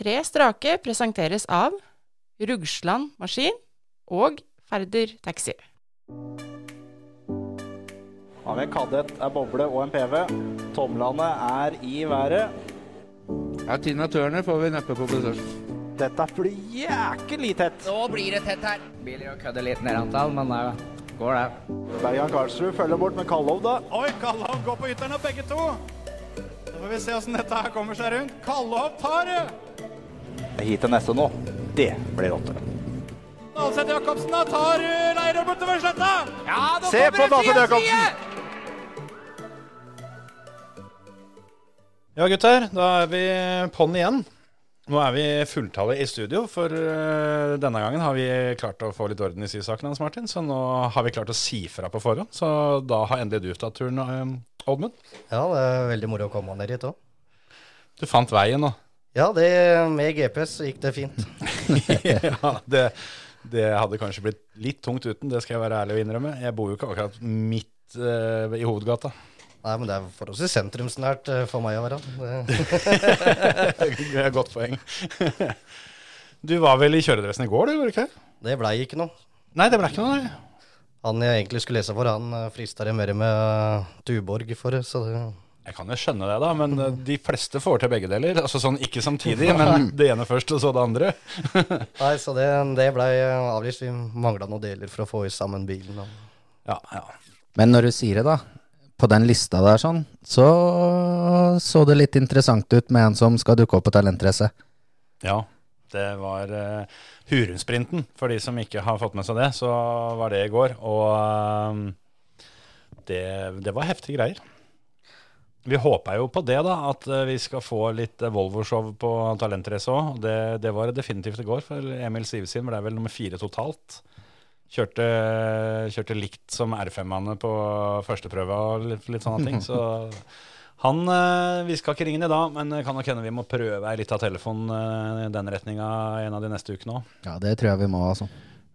Tre strake presenteres av Rugsland Maskin og Færder Taxi. Har vi en kadett, en boble og en PV. Tomlene er i været. Ja, Tina Turner får vi neppe på besøk. Dette blir jækelig tett. Nå blir det tett her. Biler å kødde litt ned antall, men det går det. Bergan Karlsrud følger bort med Kallov, da. Oi, Kallov går på ytteren av begge to. Da får vi se åssen dette her kommer seg rundt. Kallov tar det! Hit til neste nå. Det blir åtte. Dalseth Jacobsen da tar eh, Leirov bortover sletta. Ja, nå Se på kommer det Dalseth side, Jacobsen. side! Ja, gutter. Da er vi på'n igjen. Nå er vi fulltallet i studio, for eh, denne gangen har vi klart å få litt orden i sysaken hans, Martin. Så nå har vi klart å si fra på forhånd. Så da har endelig du tatt turen, eh, Oddmund. Ja, det er veldig moro å komme ned hit òg. Du fant veien nå. Ja, det, med GPS så gikk det fint. ja, det, det hadde kanskje blitt litt tungt uten, det skal jeg være ærlig og innrømme. Jeg bor jo ikke akkurat midt eh, i hovedgata. Nei, men det er forholdsvis sentrumsnært eh, for meg å være. Det, Godt poeng. du var vel i kjøredressen i går, du, var du ikke det? det blei ikke noe. Nei, det ble ikke noe, nei. Han jeg egentlig skulle lese for, han eh, frista det mer med eh, Tuborg for, så det, Jeg kan jo skjønne det, da, men eh, de fleste får til begge deler. Altså sånn ikke samtidig, men det ene først, og så det andre. Nei, så det, det blei eh, avlyst. Vi mangla noen deler for å få i sammen bilen. Og. Ja, ja. Men når du sier det, da. På den lista der sånn, så så det litt interessant ut med en som skal dukke opp på talentrace. Ja, det var eh, Hurumsprinten. For de som ikke har fått med seg det, så var det i går. Og eh, det, det var heftige greier. Vi håper jo på det, da, at eh, vi skal få litt eh, Volvo-show på Talentrace òg. Det, det var det definitivt i går, for Emil Sivesin ble vel nummer fire totalt. Kjørte, kjørte likt som R5-ene på førsteprøva og litt, litt sånne ting. Så han, eh, Vi skal ikke ringe ham i dag, men det kan nok hende vi må prøve ei lita telefon eh, i den retninga en av de neste ukene òg. Ja, det tror jeg vi må, altså.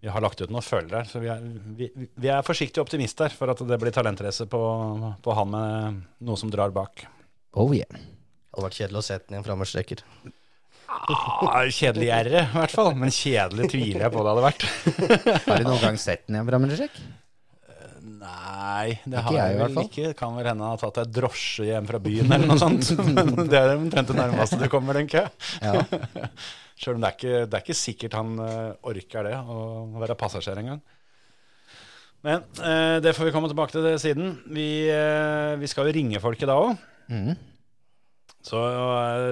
Vi har lagt ut noen følgere, så vi er, vi, vi er forsiktige optimister for at det blir talentrace på, på han med noe som drar bak. Oh yeah. Det hadde vært kjedelig å sette den i en frammerstreker. Ah, kjedelig gjerre, i hvert fall. Men kjedelig tviler jeg på det hadde vært. Har du noen gang sett den i en brammersjekk? Nei, det Ikke har jeg jeg i hvert vel fall. ikke. Kan vel hende han har tatt ei drosje hjem fra byen eller noe sånt. Men det er omtrent det nærmeste du kommer, tenker jeg. Ja. Sjøl om det er, ikke, det er ikke sikkert han eh, orker det, å være passasjer engang. Men eh, det får vi komme tilbake til det siden. Vi, eh, vi skal jo ringe folk i dag òg. Mm. Så eh,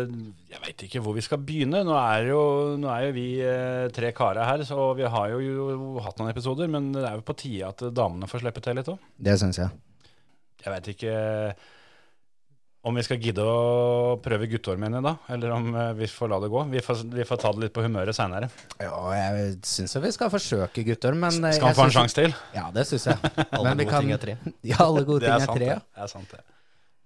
jeg veit ikke hvor vi skal begynne. Nå er jo, nå er jo vi eh, tre karer her, så vi har jo, jo hatt noen episoder. Men det er jo på tide at damene får slippe til litt òg. Det syns jeg. Jeg veit ikke eh, om vi skal gidde å prøve gutteormen i dag, eller om eh, vi får la det gå. Vi får, vi får ta det litt på humøret seinere. Ja, jeg syns jo vi skal forsøke, gutter, men eh, Skal jeg han få en synes- sjanse til? Ja, det syns jeg. Alle Men vi gode kan- ting er tre. Ja, alle gode ting er tre. ja. det er sant, det.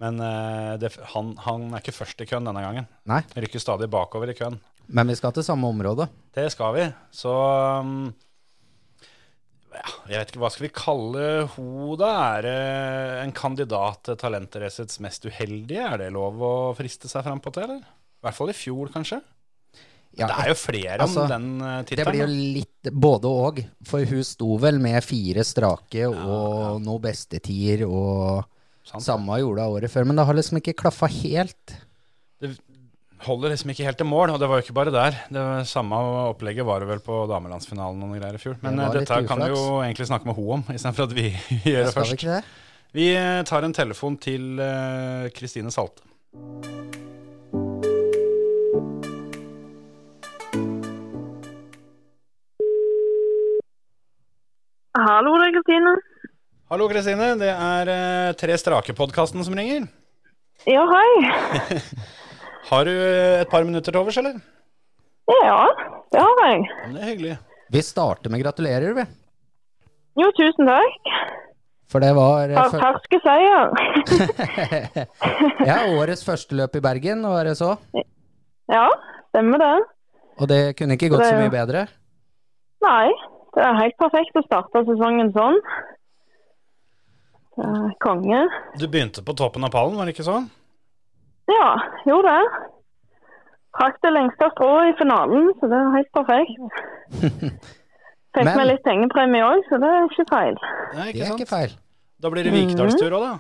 Men eh, det, han, han er ikke først i køen denne gangen. Nei, Rykker stadig bakover i køen. men vi skal til samme område. Det skal vi. Så um, ja, Jeg vet ikke, hva skal vi kalle ho da? Er det en kandidat til Talentracets mest uheldige? Er det lov å friste seg fram på det, eller? I hvert fall i fjor, kanskje. Ja, det er jo flere altså, om den eh, Det blir jo tittelen. litt både og, for hun sto vel med fire strake og noe bestetider og Sant. Samme gjorde hun året før, men det har liksom ikke klaffa helt. Det holder liksom ikke helt til mål, og det var jo ikke bare der. Det var- samme opplegget var det vel på damelandsfinalen og noen greier i fjor. Men Det eh, var litt dette kan vi uflaks. jo egentlig snakke med ho om, istedenfor at vi gjør Skal det vi først. ikke det? Vi eh, tar en telefon til eh, Kristine Salte. Hallo, det er Kristine. Hallo, Kristine. Det er eh, Tre strake-podkasten som ringer. Ja, hei. Har du eh, et par minutter til overs, eller? Ja, det har jeg. Ja, men Det er hyggelig. Vi starter med gratulerer, vi. Jo, tusen takk. For det var eh, Her, før- her skal jeg si, ja, årets første løp i Bergen, var det så? ja. Ja, stemmer det. Og det kunne ikke gått Det- så mye bedre. Nei, det er helt perfekt å starte sesongen sånn. Det er Konge. Du begynte på toppen av pallen, var det ikke sånn? Ja, jo det. Trakk det lengste strået i finalen, så det er helt perfekt. Fikk Men- meg litt pengepremie òg, så det er ikke feil. Nei, Det ikke er sant? ikke feil. Da blir det Vikedalstur òg, da.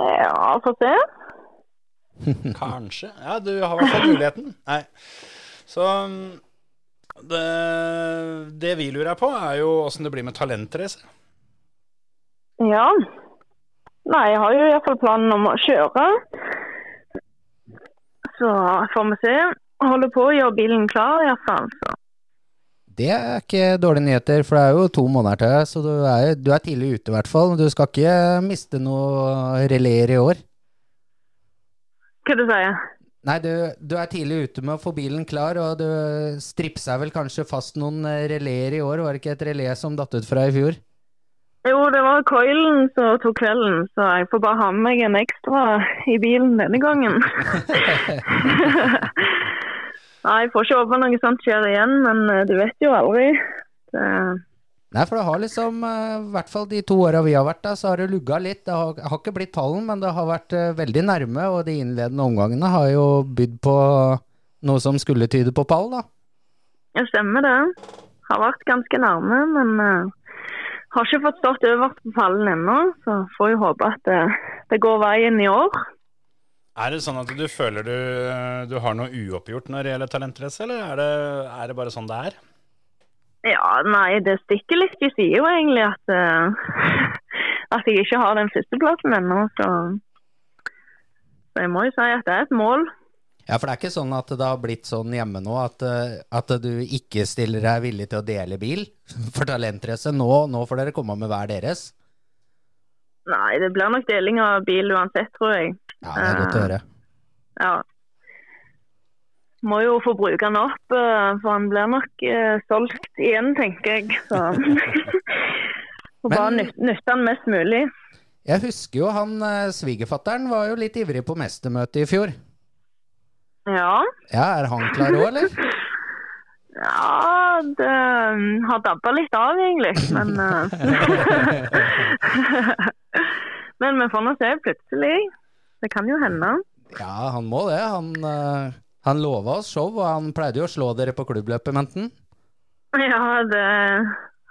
Ja, få se. Kanskje. Ja, du har i hvert fall muligheten. Nei. Så um, det, det vi lurer på, er jo åssen det blir med talentrace. Ja. Nei, jeg har jo iallfall planen om å kjøre. Så får vi se. Holder på å gjøre bilen klar iallfall. Det er ikke dårlige nyheter, for det er jo to måneder til, så du er, du er tidlig ute i hvert fall. Men du skal ikke miste noe relayer i år. Hva du sier Nei, du, du er tidlig ute med å få bilen klar, og du stripsa vel kanskje fast noen eh, relayer i år? Var det ikke et relé som datt ut fra i fjor? Jo, det var coilen som tok kvelden, så jeg får bare ha med meg en ekstra i bilen denne gangen. Nei, jeg får ikke håpe noe sånt skjer igjen, men eh, du vet jo aldri. Det, Nei, for det har liksom, eh, i hvert fall de to åra vi har vært der, så har det lugga litt. Det har, har ikke blitt pallen, men det har vært eh, veldig nærme, og de innledende omgangene har jo bydd på noe som skulle tyde på pall, da. det stemmer det. Har vært ganske nærme, men eh, har ikke fått stått øverst på pallen ennå. Så får jeg håpe at det, det går veien i år. Er det sånn at du føler du, eh, du har noe uoppgjort når det gjelder talentrace, eller er det, er det bare sånn det er? Ja, nei, det stikker litt. De sier jo egentlig at, eh, at jeg ikke har den førsteplassen ennå, så Så jeg må jo si at det er et mål. Ja, for det er ikke sånn at det har blitt sånn hjemme nå at, eh, at du ikke stiller deg villig til å dele bil for talentrace. Nå, nå får dere komme med hver deres. Nei, det blir nok deling av bil uansett, tror jeg. Ja, det er godt å høre. Ja. Må jo få bruke den opp, eh, for han blir nok eh, solgt igjen, tenker jeg. Så Får bare Men- nyt- nytte den mest mulig. Jeg husker jo han eh, svigerfatteren var jo litt ivrig på mestermøtet i fjor. Ja. Ja, er han klar òg, eller? Ja, det um, har dabba litt av, egentlig. Men eh, uh, Men vi får nå se plutselig. Det kan jo hende. Ja, han må det. Han, uh, han lova oss show, og han pleide jo å slå dere på klubbløpet, Menten. Ja, det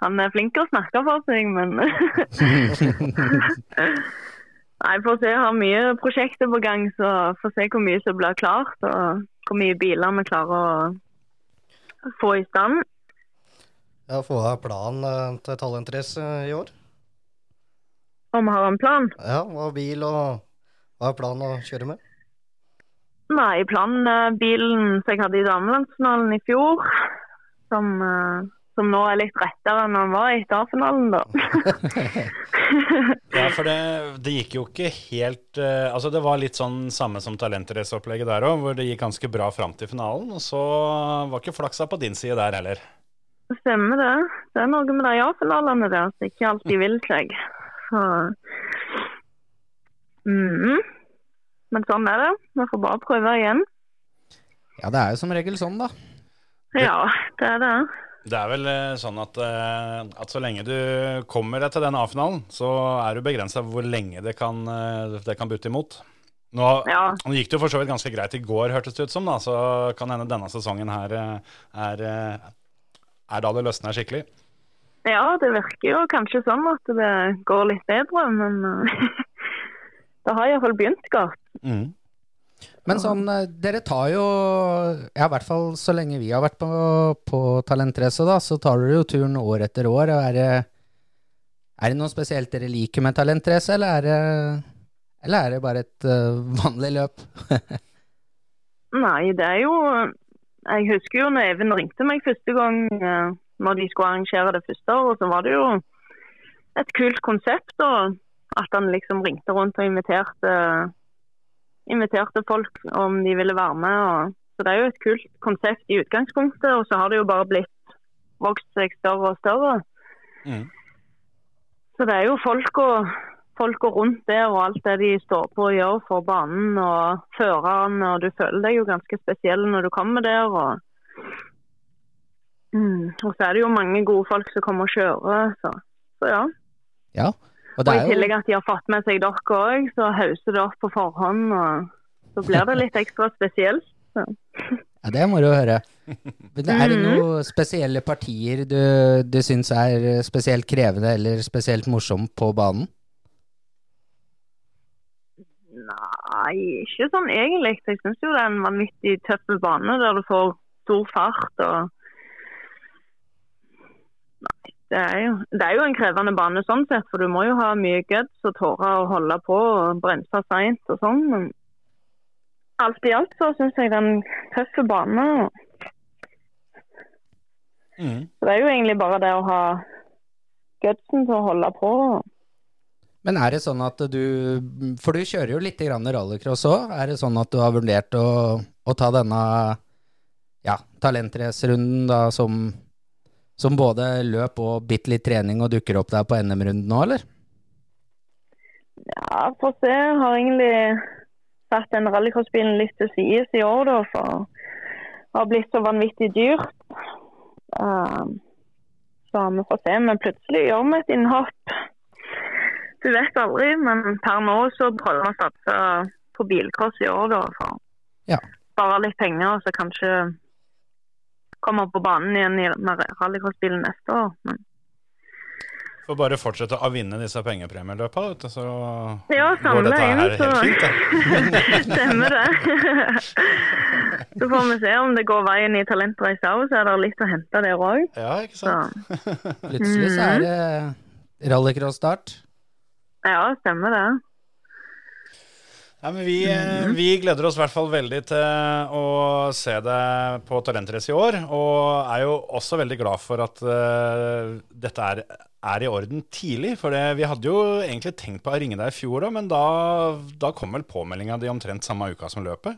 Han er flink til å snakke for seg, men Nei, får se. Jeg har mye prosjekter på gang, så får se hvor mye som blir klart. Og hvor mye biler vi klarer å få i stand. Ja, få av planen eh, til talentrace eh, i år. Om vi har en plan. Ja, hva er bil og hva er planen å kjøre med? Nei, planen er bilen som jeg hadde i damelandsfinalen i fjor, som, eh, som nå er litt rettere enn den var etter A-finalen, da. Ja, for det, det gikk jo ikke helt eh, Altså, det var litt sånn samme som talentraceopplegget der òg, hvor det gikk ganske bra fram til finalen, og så var ikke flaksa på din side der heller. Stemmer det. Det er noe med de A-finalene der som ikke alltid vil seg. Så Mhm. Men sånn er det. Vi får bare prøve igjen. Ja, det er jo som regel sånn, da. Ja, det er det. Det er vel eh, sånn at, eh, at så lenge du kommer deg til den A-finalen, så er du begrensa hvor lenge det kan, eh, det kan butte imot. Nå, Ja. nå gikk det jo for så vidt ganske greit i går, hørtes det ut som, da, så kan hende denne sesongen her eh, er, eh, er da det løsner skikkelig. Ja, det virker jo kanskje sånn at det går litt bedre, men eh, det har iallfall begynt godt. Mm. Men sånn, eh, dere tar jo Ja, i hvert fall så lenge vi har vært på, på Talentrace, da, så tar dere jo turen år etter år. og Er det, er det noe spesielt dere liker med Talentrace, eller er det eller er det bare et eh, vanlig løp? Nei, det er jo Jeg husker jo når Even ringte meg første gang eh, når de skulle arrangere det første året, så var det jo et kult konsept. Og at han liksom ringte rundt og inviterte, inviterte folk om de ville være med. Og, så det er jo et kult konsept i utgangspunktet, og så har det jo bare blitt vokst seg større og større. Mhm. Så det er jo folk og folka rundt der og alt det de står på og gjør for banen og føreren. og Du føler deg jo ganske spesiell når du kommer der. Og, mm, og så er det jo mange gode folk som kommer og kjører. Så, så ja. Ja. Og Og det I er jo, tillegg at de har fått med seg dere òg, så hauser det opp på forhånd. og Så blir det litt ekstra spesielt. Ja, det er moro å høre. Men er det noen spesielle partier du, du syns er eh, spesielt krevende eller spesielt morsomt på banen? Nei, ikke sånn egentlig. Jeg syns jo det er en vanvittig tøff bane der du får stor fart og Nei, det er jo, det er jo en krevende bane sånn sett, for du må jo ha mye guts og tåre å holde på og bremse seint og sånn, men alt i alt så syns jeg det er en tøff bane. og Mm. Så det er jo egentlig bare det å ha gutsen til å holde på. Men er det sånn at du For du kjører jo litt grann rallycross òg. Er det sånn at du har vurdert å, å ta denne ja, talentracerunden da som, som både løp og bitte litt trening og dukker opp der på NM-runden nå, eller? Ja, få se. Jeg har egentlig satt den rallycrossbilen litt til sides i år, da, for det har blitt så vanvittig dyrt. Ehm, så vi får se. Men plutselig gjør vi et innhopp. Du vet aldri, men per nå så prøver vi å satse på bilcross i år, da. For Ja. spare litt penger, og så kanskje komme på banen igjen i- med rallycrossbilen neste år. Men Får bare fortsette å vinne disse pengepremieløpa, vet du, så Ja, går samle dette inn, her så- helt fint. Da. Stemmer det. Så får vi se om det går veien i talentreisa òg, så er det litt å hente der òg. Ja, ikke Så sant. Plutselig så er det rallycross-start. ja, stemmer det. Nei, men vi, eh, vi gleder oss i hvert fall veldig til å se deg på Talentrace i år. Og er jo også veldig glad for at eh, dette er, er i orden tidlig. For det, vi hadde jo egentlig tenkt på å ringe deg i fjor, da, men da, da kom vel påmeldinga di omtrent samme uka som løpet?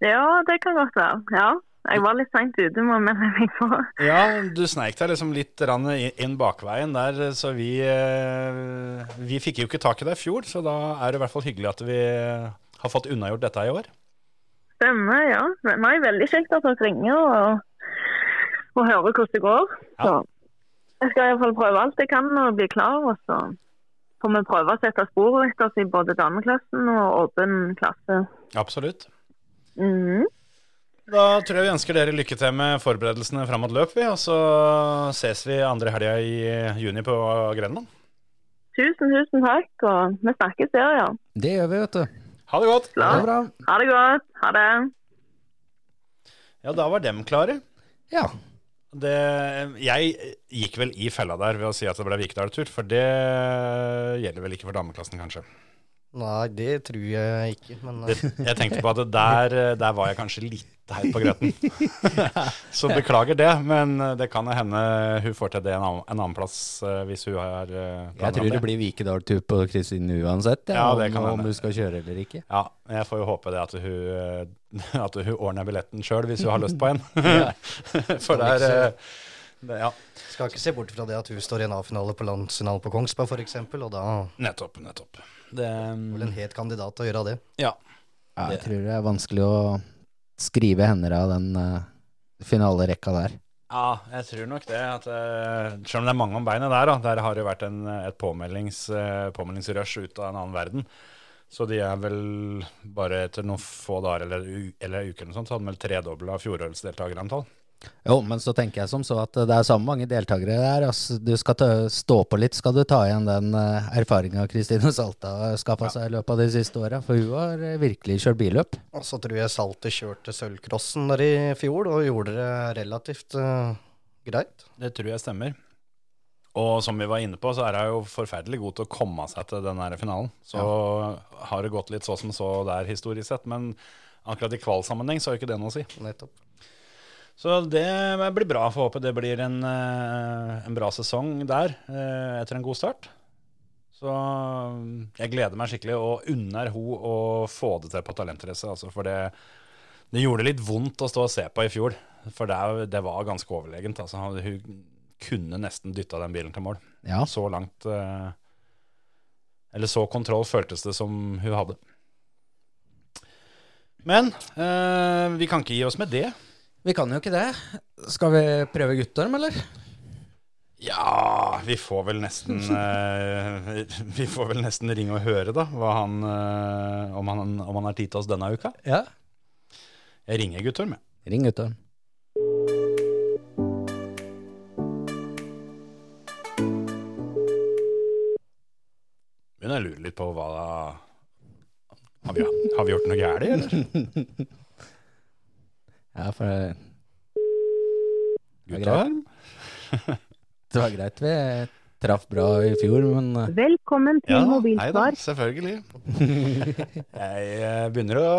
Ja, det kan godt være. Ja. Jeg var litt seint ute med å melde meg på. Ja, du sneik deg liksom litt rann i- inn bakveien der, så vi, eh, vi fikk jo ikke tak i deg i fjor, så da er det i hvert fall hyggelig at vi har fått unnagjort dette i år. Stemmer, ja. Men det er veldig kjekt at dere ringer og, og hører hvordan det går. Så jeg skal iallfall prøve alt jeg kan og bli klar. Og så får vi prøve å sette spor etter oss i både dameklassen og åpen klasse. Absolutt. Mhm. Da tror jeg vi ønsker dere lykke til med forberedelsene fram mot løp, vi, og så ses vi andre helga i juni på Grenland. Tusen, tusen takk, og vi snakkes der, ja. Det gjør vi, vet du. Ha det godt! Det Ja. er bra. Ha det godt. Ha det. Ja, da var dem klare. Ja. Det, jeg gikk vel i fella der ved å si at det ble Vikedal-tur, for det gjelder vel ikke for dameklassen, kanskje. Nei, det tror jeg ikke, men Det, jeg tenkte på at der, der var jeg kanskje litt heit på grøten. Så beklager det, men det kan hende hun får til det en annen, en annen plass eh, hvis hun har eh, planer Jeg om tror det blir Vikedal-tur på Kristin uansett, ja, Ja, det kan om, om hende. du skal kjøre eller ikke. Ja, jeg får jo håpe det at hun, eh, at hun ordner billetten sjøl hvis hun har lyst på en. For der eh, det, Ja, skal ikke se bort fra det at hun står i en A-finale på landsfinalen på Kongsberg, for eksempel, og da er nettopp, nettopp. Det, vel en het kandidat til å gjøre det. ja. Ja, jeg Det- tror det er vanskelig å skrive hender av den eh, finalerekka der. Ja, jeg tror nok det. At, eh, selv om det er mange om beinet der, da, der har det vært en, et påmeldings, eh, påmeldingsrush ut av en annen verden. Så de er vel bare etter noen få dager eller, u- eller uker eller noe sånt, så hadde de vel tredobla fjorårets deltakerantall. Jo, men så tenker jeg som så at eh, det er så mange deltakere der. Altså, du skal ta, stå på litt, skal du ta igjen den uh, erfaringa Kristine Salta har skaffa seg i løpet av de siste åra. For hun har eh, virkelig kjørt billøp. Og så tror jeg Salte kjørte sølvcrossen der i fjor, og gjorde det relativt eh, greit. Det tror jeg stemmer. Og som vi var inne på, så er hun jo forferdelig god til å komme seg til den her finalen. Så har det gått litt så som så der historisk sett, men akkurat i kvalsammenheng så har jo ikke det noe å si. Nettopp. Så det blir bra. Får håpe det blir en, eh, en bra sesong der eh, etter en god start. Så mm, jeg gleder meg skikkelig og unner hun å få det til på talentrace. Altså for det, det gjorde litt vondt å stå og se på i fjor, for det, er- det var ganske overlegent. Altså, hun kunne nesten dytta den bilen til mål. Ja. Så langt eh, Eller så kontroll føltes det som hun hadde. Men eh, vi kan ikke gi oss med det. Vi kan jo ikke det. Skal vi prøve Guttorm, eller? Ja, vi får vel nesten eh, Vi får vel nesten ringe og høre, da. Hva han, eh, om, han, om han har tid til oss denne uka. Ja. Jeg ringer Guttorm, jeg. Ring Guttorm. Men jeg lurer litt på hva Har vi, har vi gjort noe gærent, eller? Ja, for eh, det Det er greit. Guttorm? det var greit vi traff bra i fjor, men eh, Velkommen til Ja, hei da, mobilsvar. selvfølgelig. Jeg eh, begynner å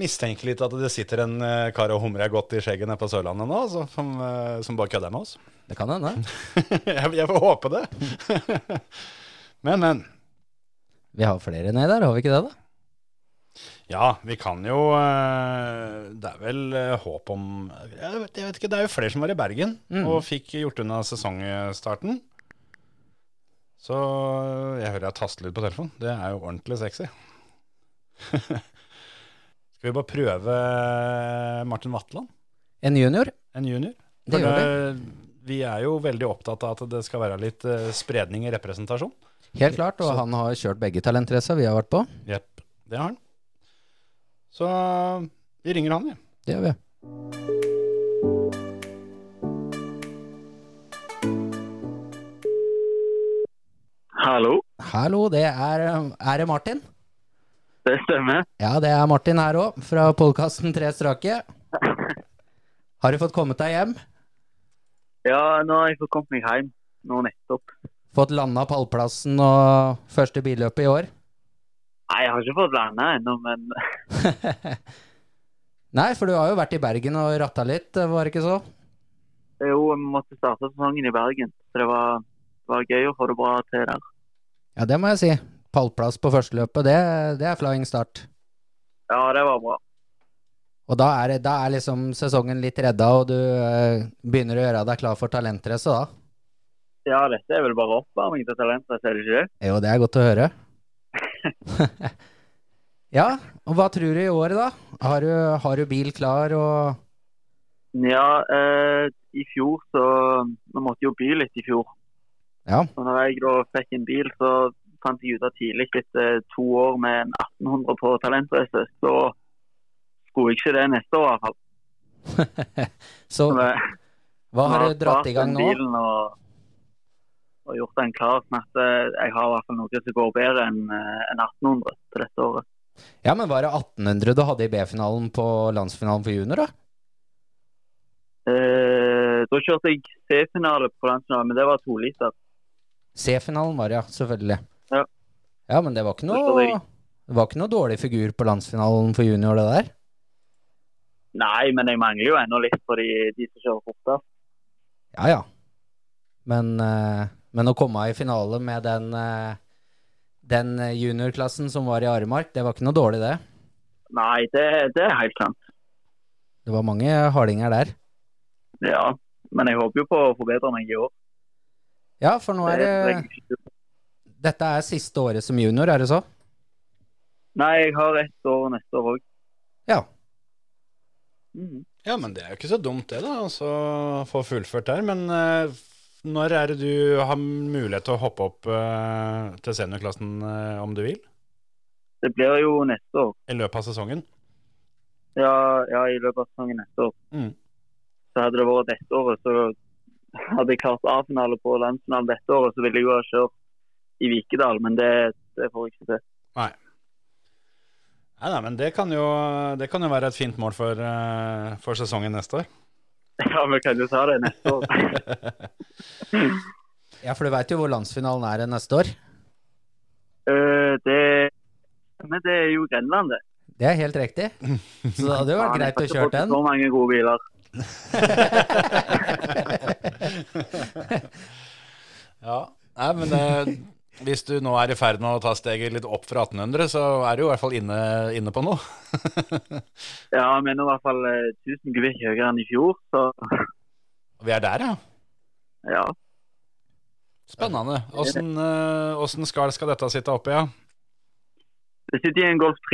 mistenke litt at det sitter en eh, kar og humrer godt i skjegget nede på Sørlandet nå, så, som, eh, som bare kødder med oss. det kan hende. Jeg, jeg får håpe det. Men, men. Vi har flere ned der, har vi ikke det, da? Ja, vi kan jo eh, Det er vel eh, håp om jeg vet, jeg vet ikke, det er jo flere som var i Bergen Mm. og fikk gjort unna sesongstarten. Så eh, jeg hører jeg tastelyd på telefonen. Det er jo ordentlig sexy. Skal vi bare prøve eh, Martin Vatland, En junior. en junior? Det For eh, gjør vi. Vi er jo veldig opptatt av at det skal være litt eh, spredning i representasjon. Helt klart. Og Så- han har kjørt begge talentracer vi har vært på. Jepp, det har han. Så eh, vi ringer han, vi. Det gjør vi. Hallo, Hallo, det er eh, Er det Martin? det stemmer. Ja, det er Martin her òg, fra podkasten Tre strake. Har du fått kommet deg hjem? Ja, nå har jeg fått kommet meg hjem nå nettopp. Fått landa pallplassen og første billøpet i år? Nei, jeg har ikke fått landa ennå, men Nei, for du har jo vært i Bergen og ratta litt, eh, var det ikke så? jo, vi måtte starte sesongen i Bergen. Så det var, var gøy å få det bra til der. Ja, det må jeg si. Pallplass på førsteløpet, det, det er flying start. Ja, det var bra. Og da er, det- da er liksom sesongen litt redda, og du eh, begynner å gjøre deg klar for talentrace da? Ja, dette er vel bare oppvarming til talentet, er det ikke det? Jo, det er godt å høre. ja, og hva tror du i år, da? Har du, har du bil klar og Ja, eh, i fjor så Vi måtte jo by litt i fjor. Ja. Og når jeg da fikk en bil, så fant jeg ut at tidlig etter to år med en 1800 på talentrace, så skulle jeg ikke det neste år. i hvert fall. Så Så det- hva har Vi du dratt spart i gang den nå? Bilen og, og gjort den klar sånn at eh, jeg har i hvert fall noe som går bedre enn eh, enn 1800 til dette året. Ja, men var det 1800 du hadde i B-finalen på landsfinalen for junior, da? Eh, da kjørte jeg C-finale på landsfinalen, men det var to liter. C-finalen var det, ja. Selvfølgelig. Ja. Ja, men det var ikke Forstår noe jeg. det var ikke noe dårlig figur på landsfinalen for junior, det der. Nei, men jeg mangler jo ennå litt for de, de som kjører fortest. Ja, ja. Men, eh, men å komme i finale med den, eh, den juniorklassen som var i Aremark, det var ikke noe dårlig, det. Nei, det, det er helt sant. Det var mange hardinger der. Ja, men jeg håper jo på å forbedre meg i år. Ja, for nå er det Det legger jeg ikke skjul på. Dette er siste året som junior, er det så? Nei, jeg har ett år neste år òg. Ja. Mm. Ja, men det er jo ikke så dumt det, da, altså, å få fullført der. Men eh, når er det du har mulighet til å hoppe opp eh, til seniorklassen eh, om du vil? Det blir jo neste år. I løpet av sesongen? Ja, ja, i løpet av sesongen neste år. Mm. Så hadde det vært dette året, så hadde jeg klart A-finale på landsfinalen dette året, så ville jeg jo ha kjørt i Vikedal, men det, det får jeg ikke til. Nei, nei, men det kan jo, det kan jo være et fint mål for, eh, for sesongen neste år. Ja, vi kan jo ta det neste år. Ja, for du veit jo hvor landsfinalen er neste år. Eh, det, men det er jo Grenland, det. Det er helt riktig. Så det hadde jo vært greit å Faen, jeg har ikke kjøre fått den. Så mange gode biler. Ja, nei, men det, hvis du nå er i ferd med å ta steget litt opp fra 1800, så er du i hvert fall inne, inne på noe. Ja, vi er nå i hvert fall eh, 1000 kubikk høyere enn i fjor, så Vi er der, ja. ja. Spennende. Åssen eh, åssen skal, skal dette sitte oppi, ja? Det sitter i en Golf 3.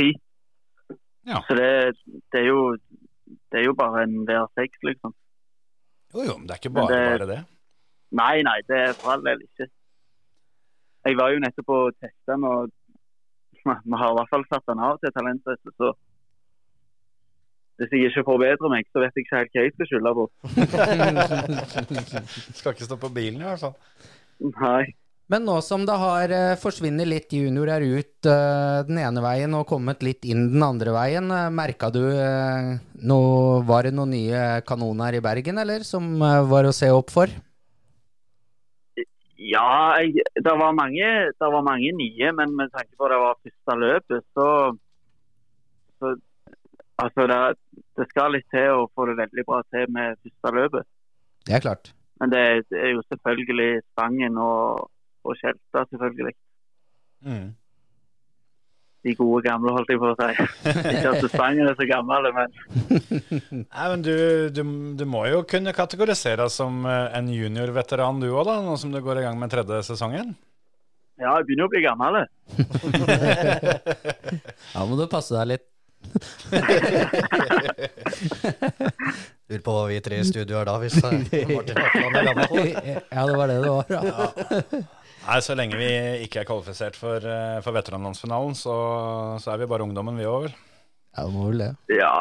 Ja. Så det, det, er jo, det er jo bare en VR6, liksom. Jo, jo, men det er ikke Men bare det- bare det. Nei, nei, det er for all del ikke. Jeg var jo nettopp og testa den, og vi har i hvert fall satt den av til talentrace, så Hvis jeg ikke forbedrer meg, så vet jeg ikke helt hva jeg skal skylde på. Skal ikke stå på bilen i hvert fall. Nei. Men nå som det har eh, forsvinnet litt juniorer ut eh, den ene veien og kommet litt inn den andre veien, eh, merka du eh, noe Var det noen nye kanoner i Bergen, eller, som eh, var å se opp for? Ja, jeg, det, var mange, det var mange nye, men med tanke på det var første løpet, så, så Altså, det, det skal litt til å få det veldig bra til med første løpet. Det er klart. Men det er- det er jo selvfølgelig Stangen og, og Skjelstad, selvfølgelig. Mm. De gode gamle, holdt jeg på å si. Ikke at Stangen er så gammel, men Nei, men du, du, du må jo kunne kategoriseres som eh, en juniorveteran du òg, da, nå som du går i gang med tredje sesongen. ja, jeg begynner å bli gammel. jeg. Da må du passe deg litt. Lurer på hva vi tre i studio er da, hvis eh, Martin Hartland er gammel. Ja, det var det det var. Ja. Nei, Så lenge vi ikke er kvalifisert for, eh, for veteranlandsfinalen, så, så er vi bare ungdommen, vi òg, vel. Ja, det må vel det. Ja,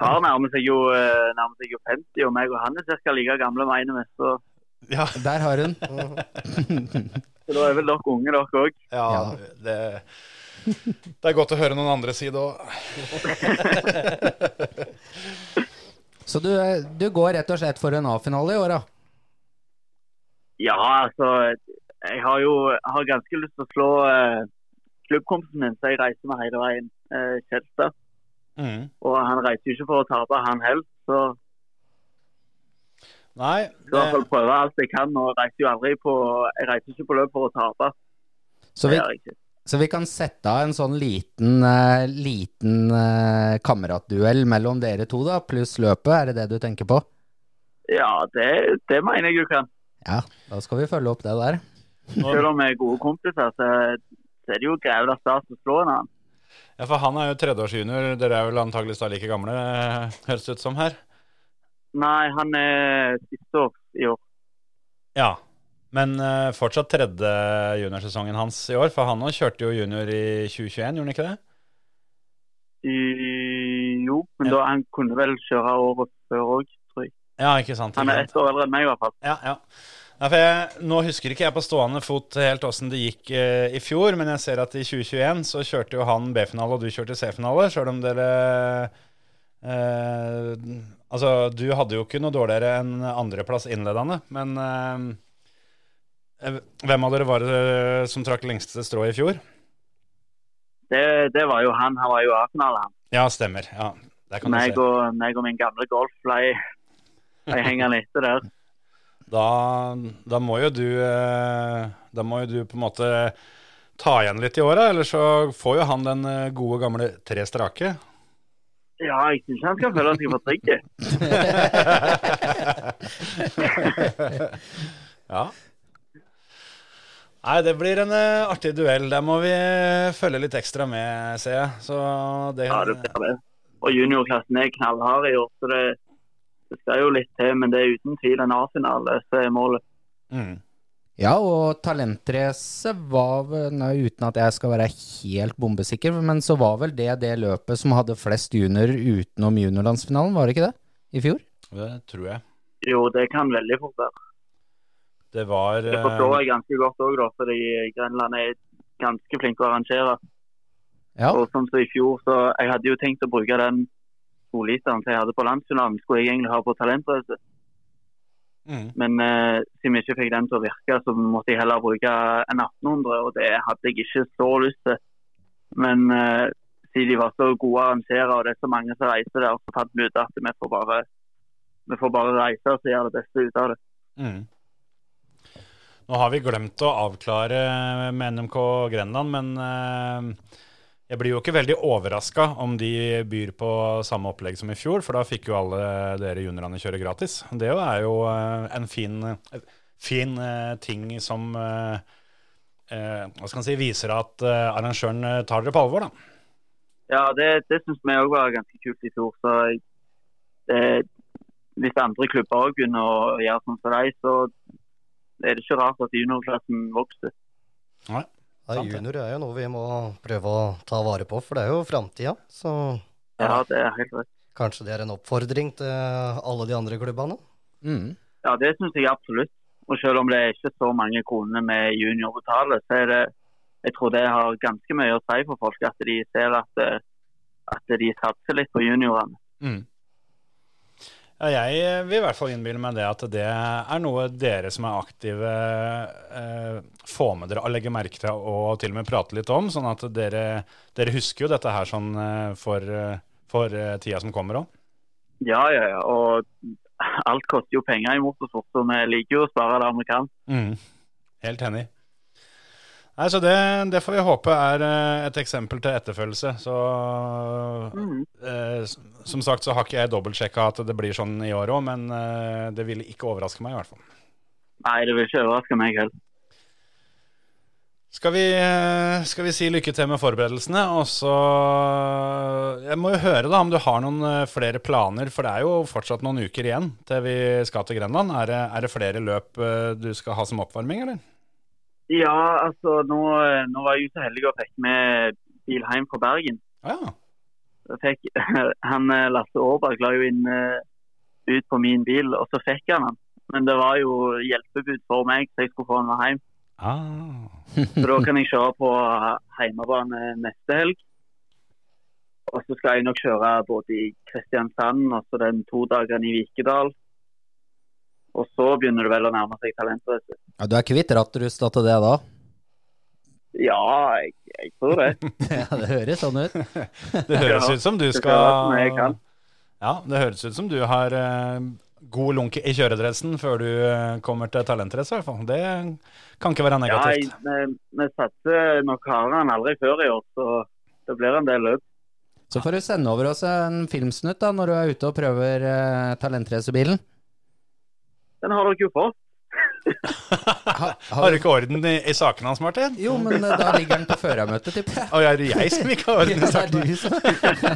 far nærmer seg jo, eh, nærmer seg jo 50, og meg og han er cirka like gamle, mener vi. Så, Ja, Der har hun. så da er vel dere unge, dere òg. ja, Det, det er godt å høre noen andre si det òg. Så du, eh, du går rett og slett for en A-finale i år, da? Ja, altså Jeg har jo har ganske lyst til å slå eh, klubbkompisen min, så jeg reiser med hele veien. Eh, Kjelstad. Mm. og han reiser jo ikke for å tape, han heller. Så Nei, jeg skal i det, hvert fall prøve alt jeg kan. Og reiser jo aldri på Jeg reiser ikke på løp for å tape. Så Det vi, gjør jeg ikke. så vi kan sette av en sånn liten, eh, liten eh, kameratduell mellom dere to, da, pluss løpet. Er det det du tenker på? Ja, det, det mener jeg jo kan. Ja, da skal vi følge opp det der. Selv om vi er gode kompiser, så, så er det jo grevla stas å slå en annen. eh, ja, for han er jo tredjeårsjunior. Dere er vel antakeligvis da like gamle, eh, høres det ut som her. Nei, han er siste år i år. Ja, men eh, fortsatt tredje juniorsesongen hans i år, for han også kjørte jo junior i 2021, gjorde han ikke det? I, jo, men da han kunne vel kjøre året før òg, tror jeg. Ja, ikke sant. Han Ikke er sant. ett år eldre enn meg, i hvert fall. Ja, ja. Ja, for jeg, nå husker ikke jeg på stående fot helt åssen det gikk eh, i fjor, men jeg ser at i 2021 så kjørte jo han B-finale, og du kjørte C-finale, sjøl om dere eh, Altså, du hadde jo ikke noe dårligere enn andreplass innledende, men eh, hvem av dere var det som trakk lengste strå i fjor? Det, det var jo han. Han var jo A-finale, han. Ja, stemmer. Ja, der kan du Meg se. og, meg og min gamle golf ble, ble hengende etter der. Da, da må jo du eh, Da må jo du på en måte ta igjen litt i åra, eller så får jo han den eh, gode gamle tre strake. Ja, jeg syns han skal føle seg for trygg. Ja. Nei, det blir en eh, artig duell. Der må vi eh, følge litt ekstra med, ser jeg. Så det, Ja, det blir det. Og juniorklassen er knallhard i år, så det, det skal jo litt til. Men det er uten tvil en A-finale som er målet. Mm. Ja, og talentrace var vel, nei, uten at jeg skal være helt bombesikker, men så var vel det det løpet som hadde flest juniorer utenom juniorlandsfinalen, var det ikke det? I fjor? det tror jeg. Jo, det kan veldig fort være. Det var Det eh, forstår jeg ganske godt òg, fordi Grenland er ganske flinke å arrangere. Ja. Og sånn som i fjor, så jeg hadde jo tenkt å bruke den toliteren som jeg hadde på landsfinalen, skulle jeg egentlig ha på talentrace. mm. Men eh, siden vi ikke fikk den til å virke, så måtte jeg heller bruke en 1800, og det hadde jeg ikke så lyst til. Men eh, siden de var så gode å arrangere, og det er så mange som reiser der, så fant vi ut at vi får bare, vi får bare reise og så gjøre det beste ut av det. Mm. Nå har vi glemt å avklare med NMK Grenland, men eh, jeg blir jo ikke veldig overraska om de byr på samme opplegg som i fjor, for da fikk jo alle dere juniorene kjøre gratis. Det jo er jo eh, en fin, fin eh, ting som eh, eh, hva skal man si, viser at eh, arrangøren eh, tar dere på alvor, da. Ja, det, det syns vi òg var ganske kult i fjor. Så jeg, det, hvis andre klubber òg begynner å gjøre sånn som deg, så er det ikke rart at juniorklassen vokser. Ja, Sant det. junior er jo noe vi må prøve å ta vare på, for det er jo framtida. Så Ja, det er helt rett. Kanskje det er en oppfordring til alle de andre klubbene? Mm. Ja, det syns jeg absolutt. Og selv om det er ikke så mange kronene med junior betaler, så er det jeg tror det har ganske mye å si for folk at de ser at, eh, at de satser litt på juniorene. Mm. Ja, jeg vil i hvert fall innbille meg det at det er noe dere som er aktive, eh, får med dere og legger merke til og til og med prater litt om. Sånn at dere, dere husker jo dette her sånn eh, for, eh, for eh, tida som kommer òg. Ja, ja, ja. Og alt koster jo penger i motorsport, så vi liker jo å spare der vi kan. Mm. Helt enig. Nei, så det, det får vi håpe er eh, et eksempel til etterfølgelse. Så Mm. eh, s- som sagt så har ikke jeg dobbeltsjekka at det blir sånn i år òg, men eh, det ville ikke overraske meg i hvert fall. Nei, det vil ikke overraske meg heller. Skal vi, eh, skal vi si lykke til med forberedelsene, og så eh, Jeg må jo høre da om du har noen eh, flere planer, for det er jo fortsatt noen uker igjen til vi skal til Grenland. Er det, er det flere løp eh, du skal ha som oppvarming, eller? Ja, altså nå, nå var jeg jo så heldig og fikk med Bilheim fra Bergen. Ja. Jeg Fikk, han eh, Lasse Aarberg la jo inn eh, ut på min bil, og så fikk han han. Men det var jo hjelpebud for meg, så jeg skulle få han med hjem. Ah. Så da kan jeg kjøre på hjemmebane neste helg. Og så skal jeg nok kjøre både i Kristiansand og så den to dagene i Vikedal. Og så begynner det vel å nærme seg talentrace. Ja, du er kvitt rattrusta til det da? Ja, jeg, jeg tror det. ja, det høres sånn ut. Det høres Ja, ut som du det skal være som jeg skal kan. Ja, det høres ut som du har eh, god lunk i kjøredressen før du eh, kommer til talentrace, i hvert fall. Det kan ikke være Ja, jeg, negativt. vi, vi satser nok hardere enn aldri før i år, så det blir en del løp. Så får du sende over oss en filmsnutt da, når du er ute og prøver uh, talentracerbilen. Den har dere jo fått. Har du ikke orden i, i sakene hans, Martin? Jo, men eh, da ligger den på førermøtet, tipper jeg. Å, er det jeg som ikke har orden i Ja, det sakene? er du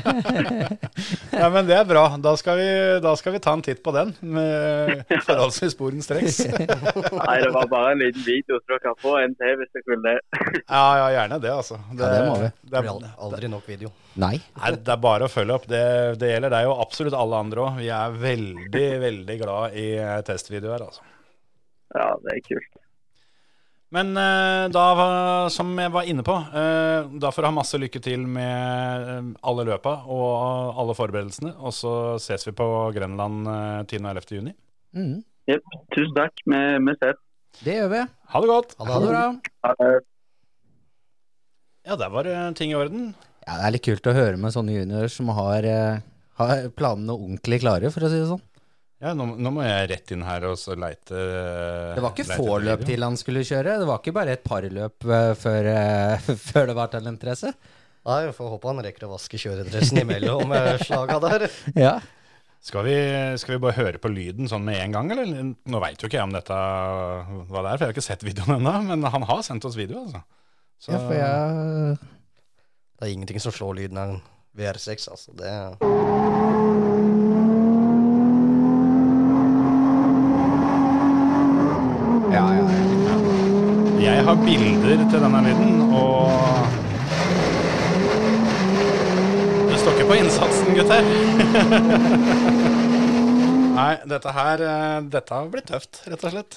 som- Ja, men Det er bra. Da skal vi, da skal vi ta en titt på den. Med forholdsvis sporenstreks. Nei, det var bare en liten video, så dere kan få en til hvis dere vil det. Ja, ja, gjerne det, altså. Det, Ja, det må vi. Det Det blir er, al- aldri nok video. Nei. nei, det er bare å følge opp. Det, det gjelder deg og absolutt alle andre òg. Vi er veldig, veldig glad i eh, testvideoer, altså. Ja, det er kult. Men eh, da, var- som jeg var inne på, eh, da får du ha masse lykke til med eh, alle løpa og alle forberedelsene. Og så ses vi på Grenland eh, 10. og 11. juni. Mm. Jep, tusen takk. Vi, vi ses. Det gjør vi. Ha det godt! Ha det bra. Ha det. Ja, der var eh, ting i orden. Ja, det er litt kult å høre med sånne juniorer som har, eh, har planene ordentlig klare, for å si det sånn. Ja, nå, nå må jeg rett inn her og så leite eh, Det var ikke leite få etter løp video. til han skulle kjøre, det var ikke bare et par løp eh, før, eh, før det var talentrace. Nei, vi får håpe han rekker å vaske kjøredressen imellom eh, slaga der. Ja. Skal vi, skal vi bare høre på lyden sånn med en gang, eller? Nå veit jo ikke jeg om dette hva det er, for jeg har ikke sett videoen ennå. Men han har sendt oss video, altså. Så- ja, for jeg Det er ingenting som slår lyden av en VR6, altså. Det Ja, ja. Jeg har bilder til denne lyden, og Det står ikke på innsatsen, gutter. Nei, dette her eh, Dette har blitt tøft, rett og slett.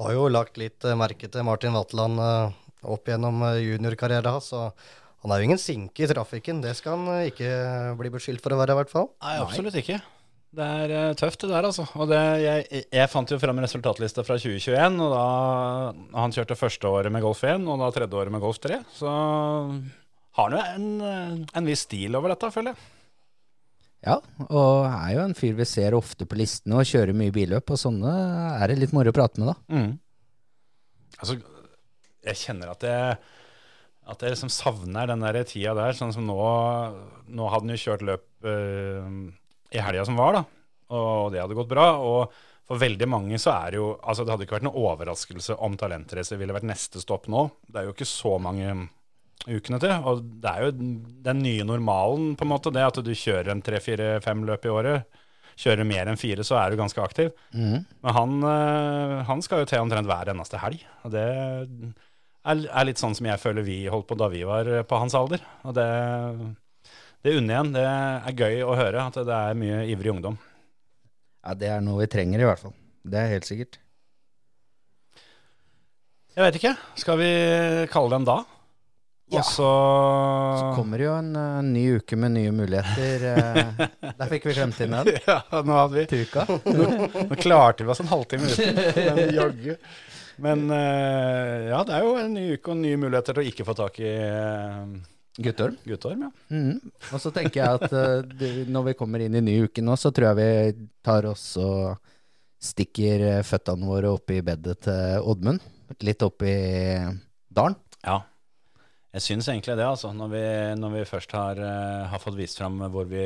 har jo lagt litt eh, merke til Martin Vatland eh, opp gjennom eh, juniorkarrieren hans, så han er jo ingen sinke i trafikken. Det skal han eh, ikke bli beskyldt for å være, i hvert fall. Nei, absolutt ikke. Det er eh, tøft, det der, altså. Og det, jeg, jeg fant jo fram resultatlista fra 2021, og da Han kjørte første året med Golf 1, og da tredje året med Golf 3. Så har han jo en, eh, en viss stil over dette, føler jeg. Ja, og er jo en fyr vi ser ofte på listene og kjører mye billøp, og sånne er det litt moro å prate med, da. Altså, jeg kjenner at jeg at jeg liksom savner den der tida der. Sånn som nå Nå hadde han jo kjørt løp eh, i helga som var, da. Og det hadde gått bra. Og for veldig mange så er det jo Altså, det hadde ikke vært noen overraskelse om talentrace ville vært neste stopp nå. Det er jo ikke så mange ukene til. Og det er jo den- den nye normalen, på en måte, det at du kjører en tre-fire-fem løp i året. Kjører mer enn fire, så er du ganske aktiv. Men han, eh, han skal jo til omtrent hver eneste helg. Og det er, er litt sånn som jeg føler vi holdt på da vi var på hans alder. Og det, det unner jeg en. Det er gøy å høre at det er mye ivrig ungdom. Ja, det er noe vi trenger, i hvert fall. Det er helt sikkert. Jeg vet ikke. Skal vi kalle dem da? Ja. Og så Så kommer jo en eh, ny uke med nye muligheter. eh, der fikk vi glemt inn den. Ja, nå hadde vi Til uka. Nå klarte vi oss en halvtime uten den jaggu. Men eh, ja, det er jo en ny uke og nye muligheter til å ikke få tak i eh, Guttorm. guttorm, ja. Mhm. Og så tenker jeg at eh, det- når vi kommer inn i ny uke nå, så tror jeg vi tar oss og stikker eh, føttene våre opp i bedet til Oddmund. Litt opp i dalen. Ja. Jeg syns egentlig det, altså. Når vi, når vi først har, eh, har fått vist fram hvor vi,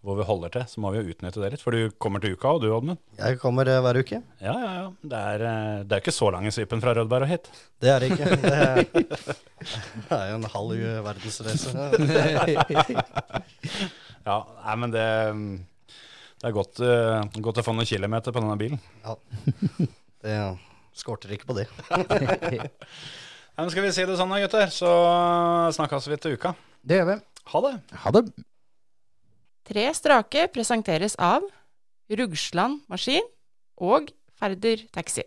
hvor vi holder til, så må vi jo utnytte det litt. For du kommer til uka, og du, Oddmund. Jeg kommer eh, hver uke. Ja, ja, ja. Det er, eh, det er ikke så lang i svippen fra Rødberg og hit. Det er det ikke. Det er, det er jo en halv eh, u- verdensreise. Ja, nei, men det, mm, det er godt, eh, godt å få noen kilometer på denne bilen. Det skorter ikke på det. Nei, men skal vi si det sånn da, gutter, så snakkes vi til uka. Det gjør vi. Ha det! Ha det. Tre strake presenteres av Rugsland Maskin og Færder Taxi.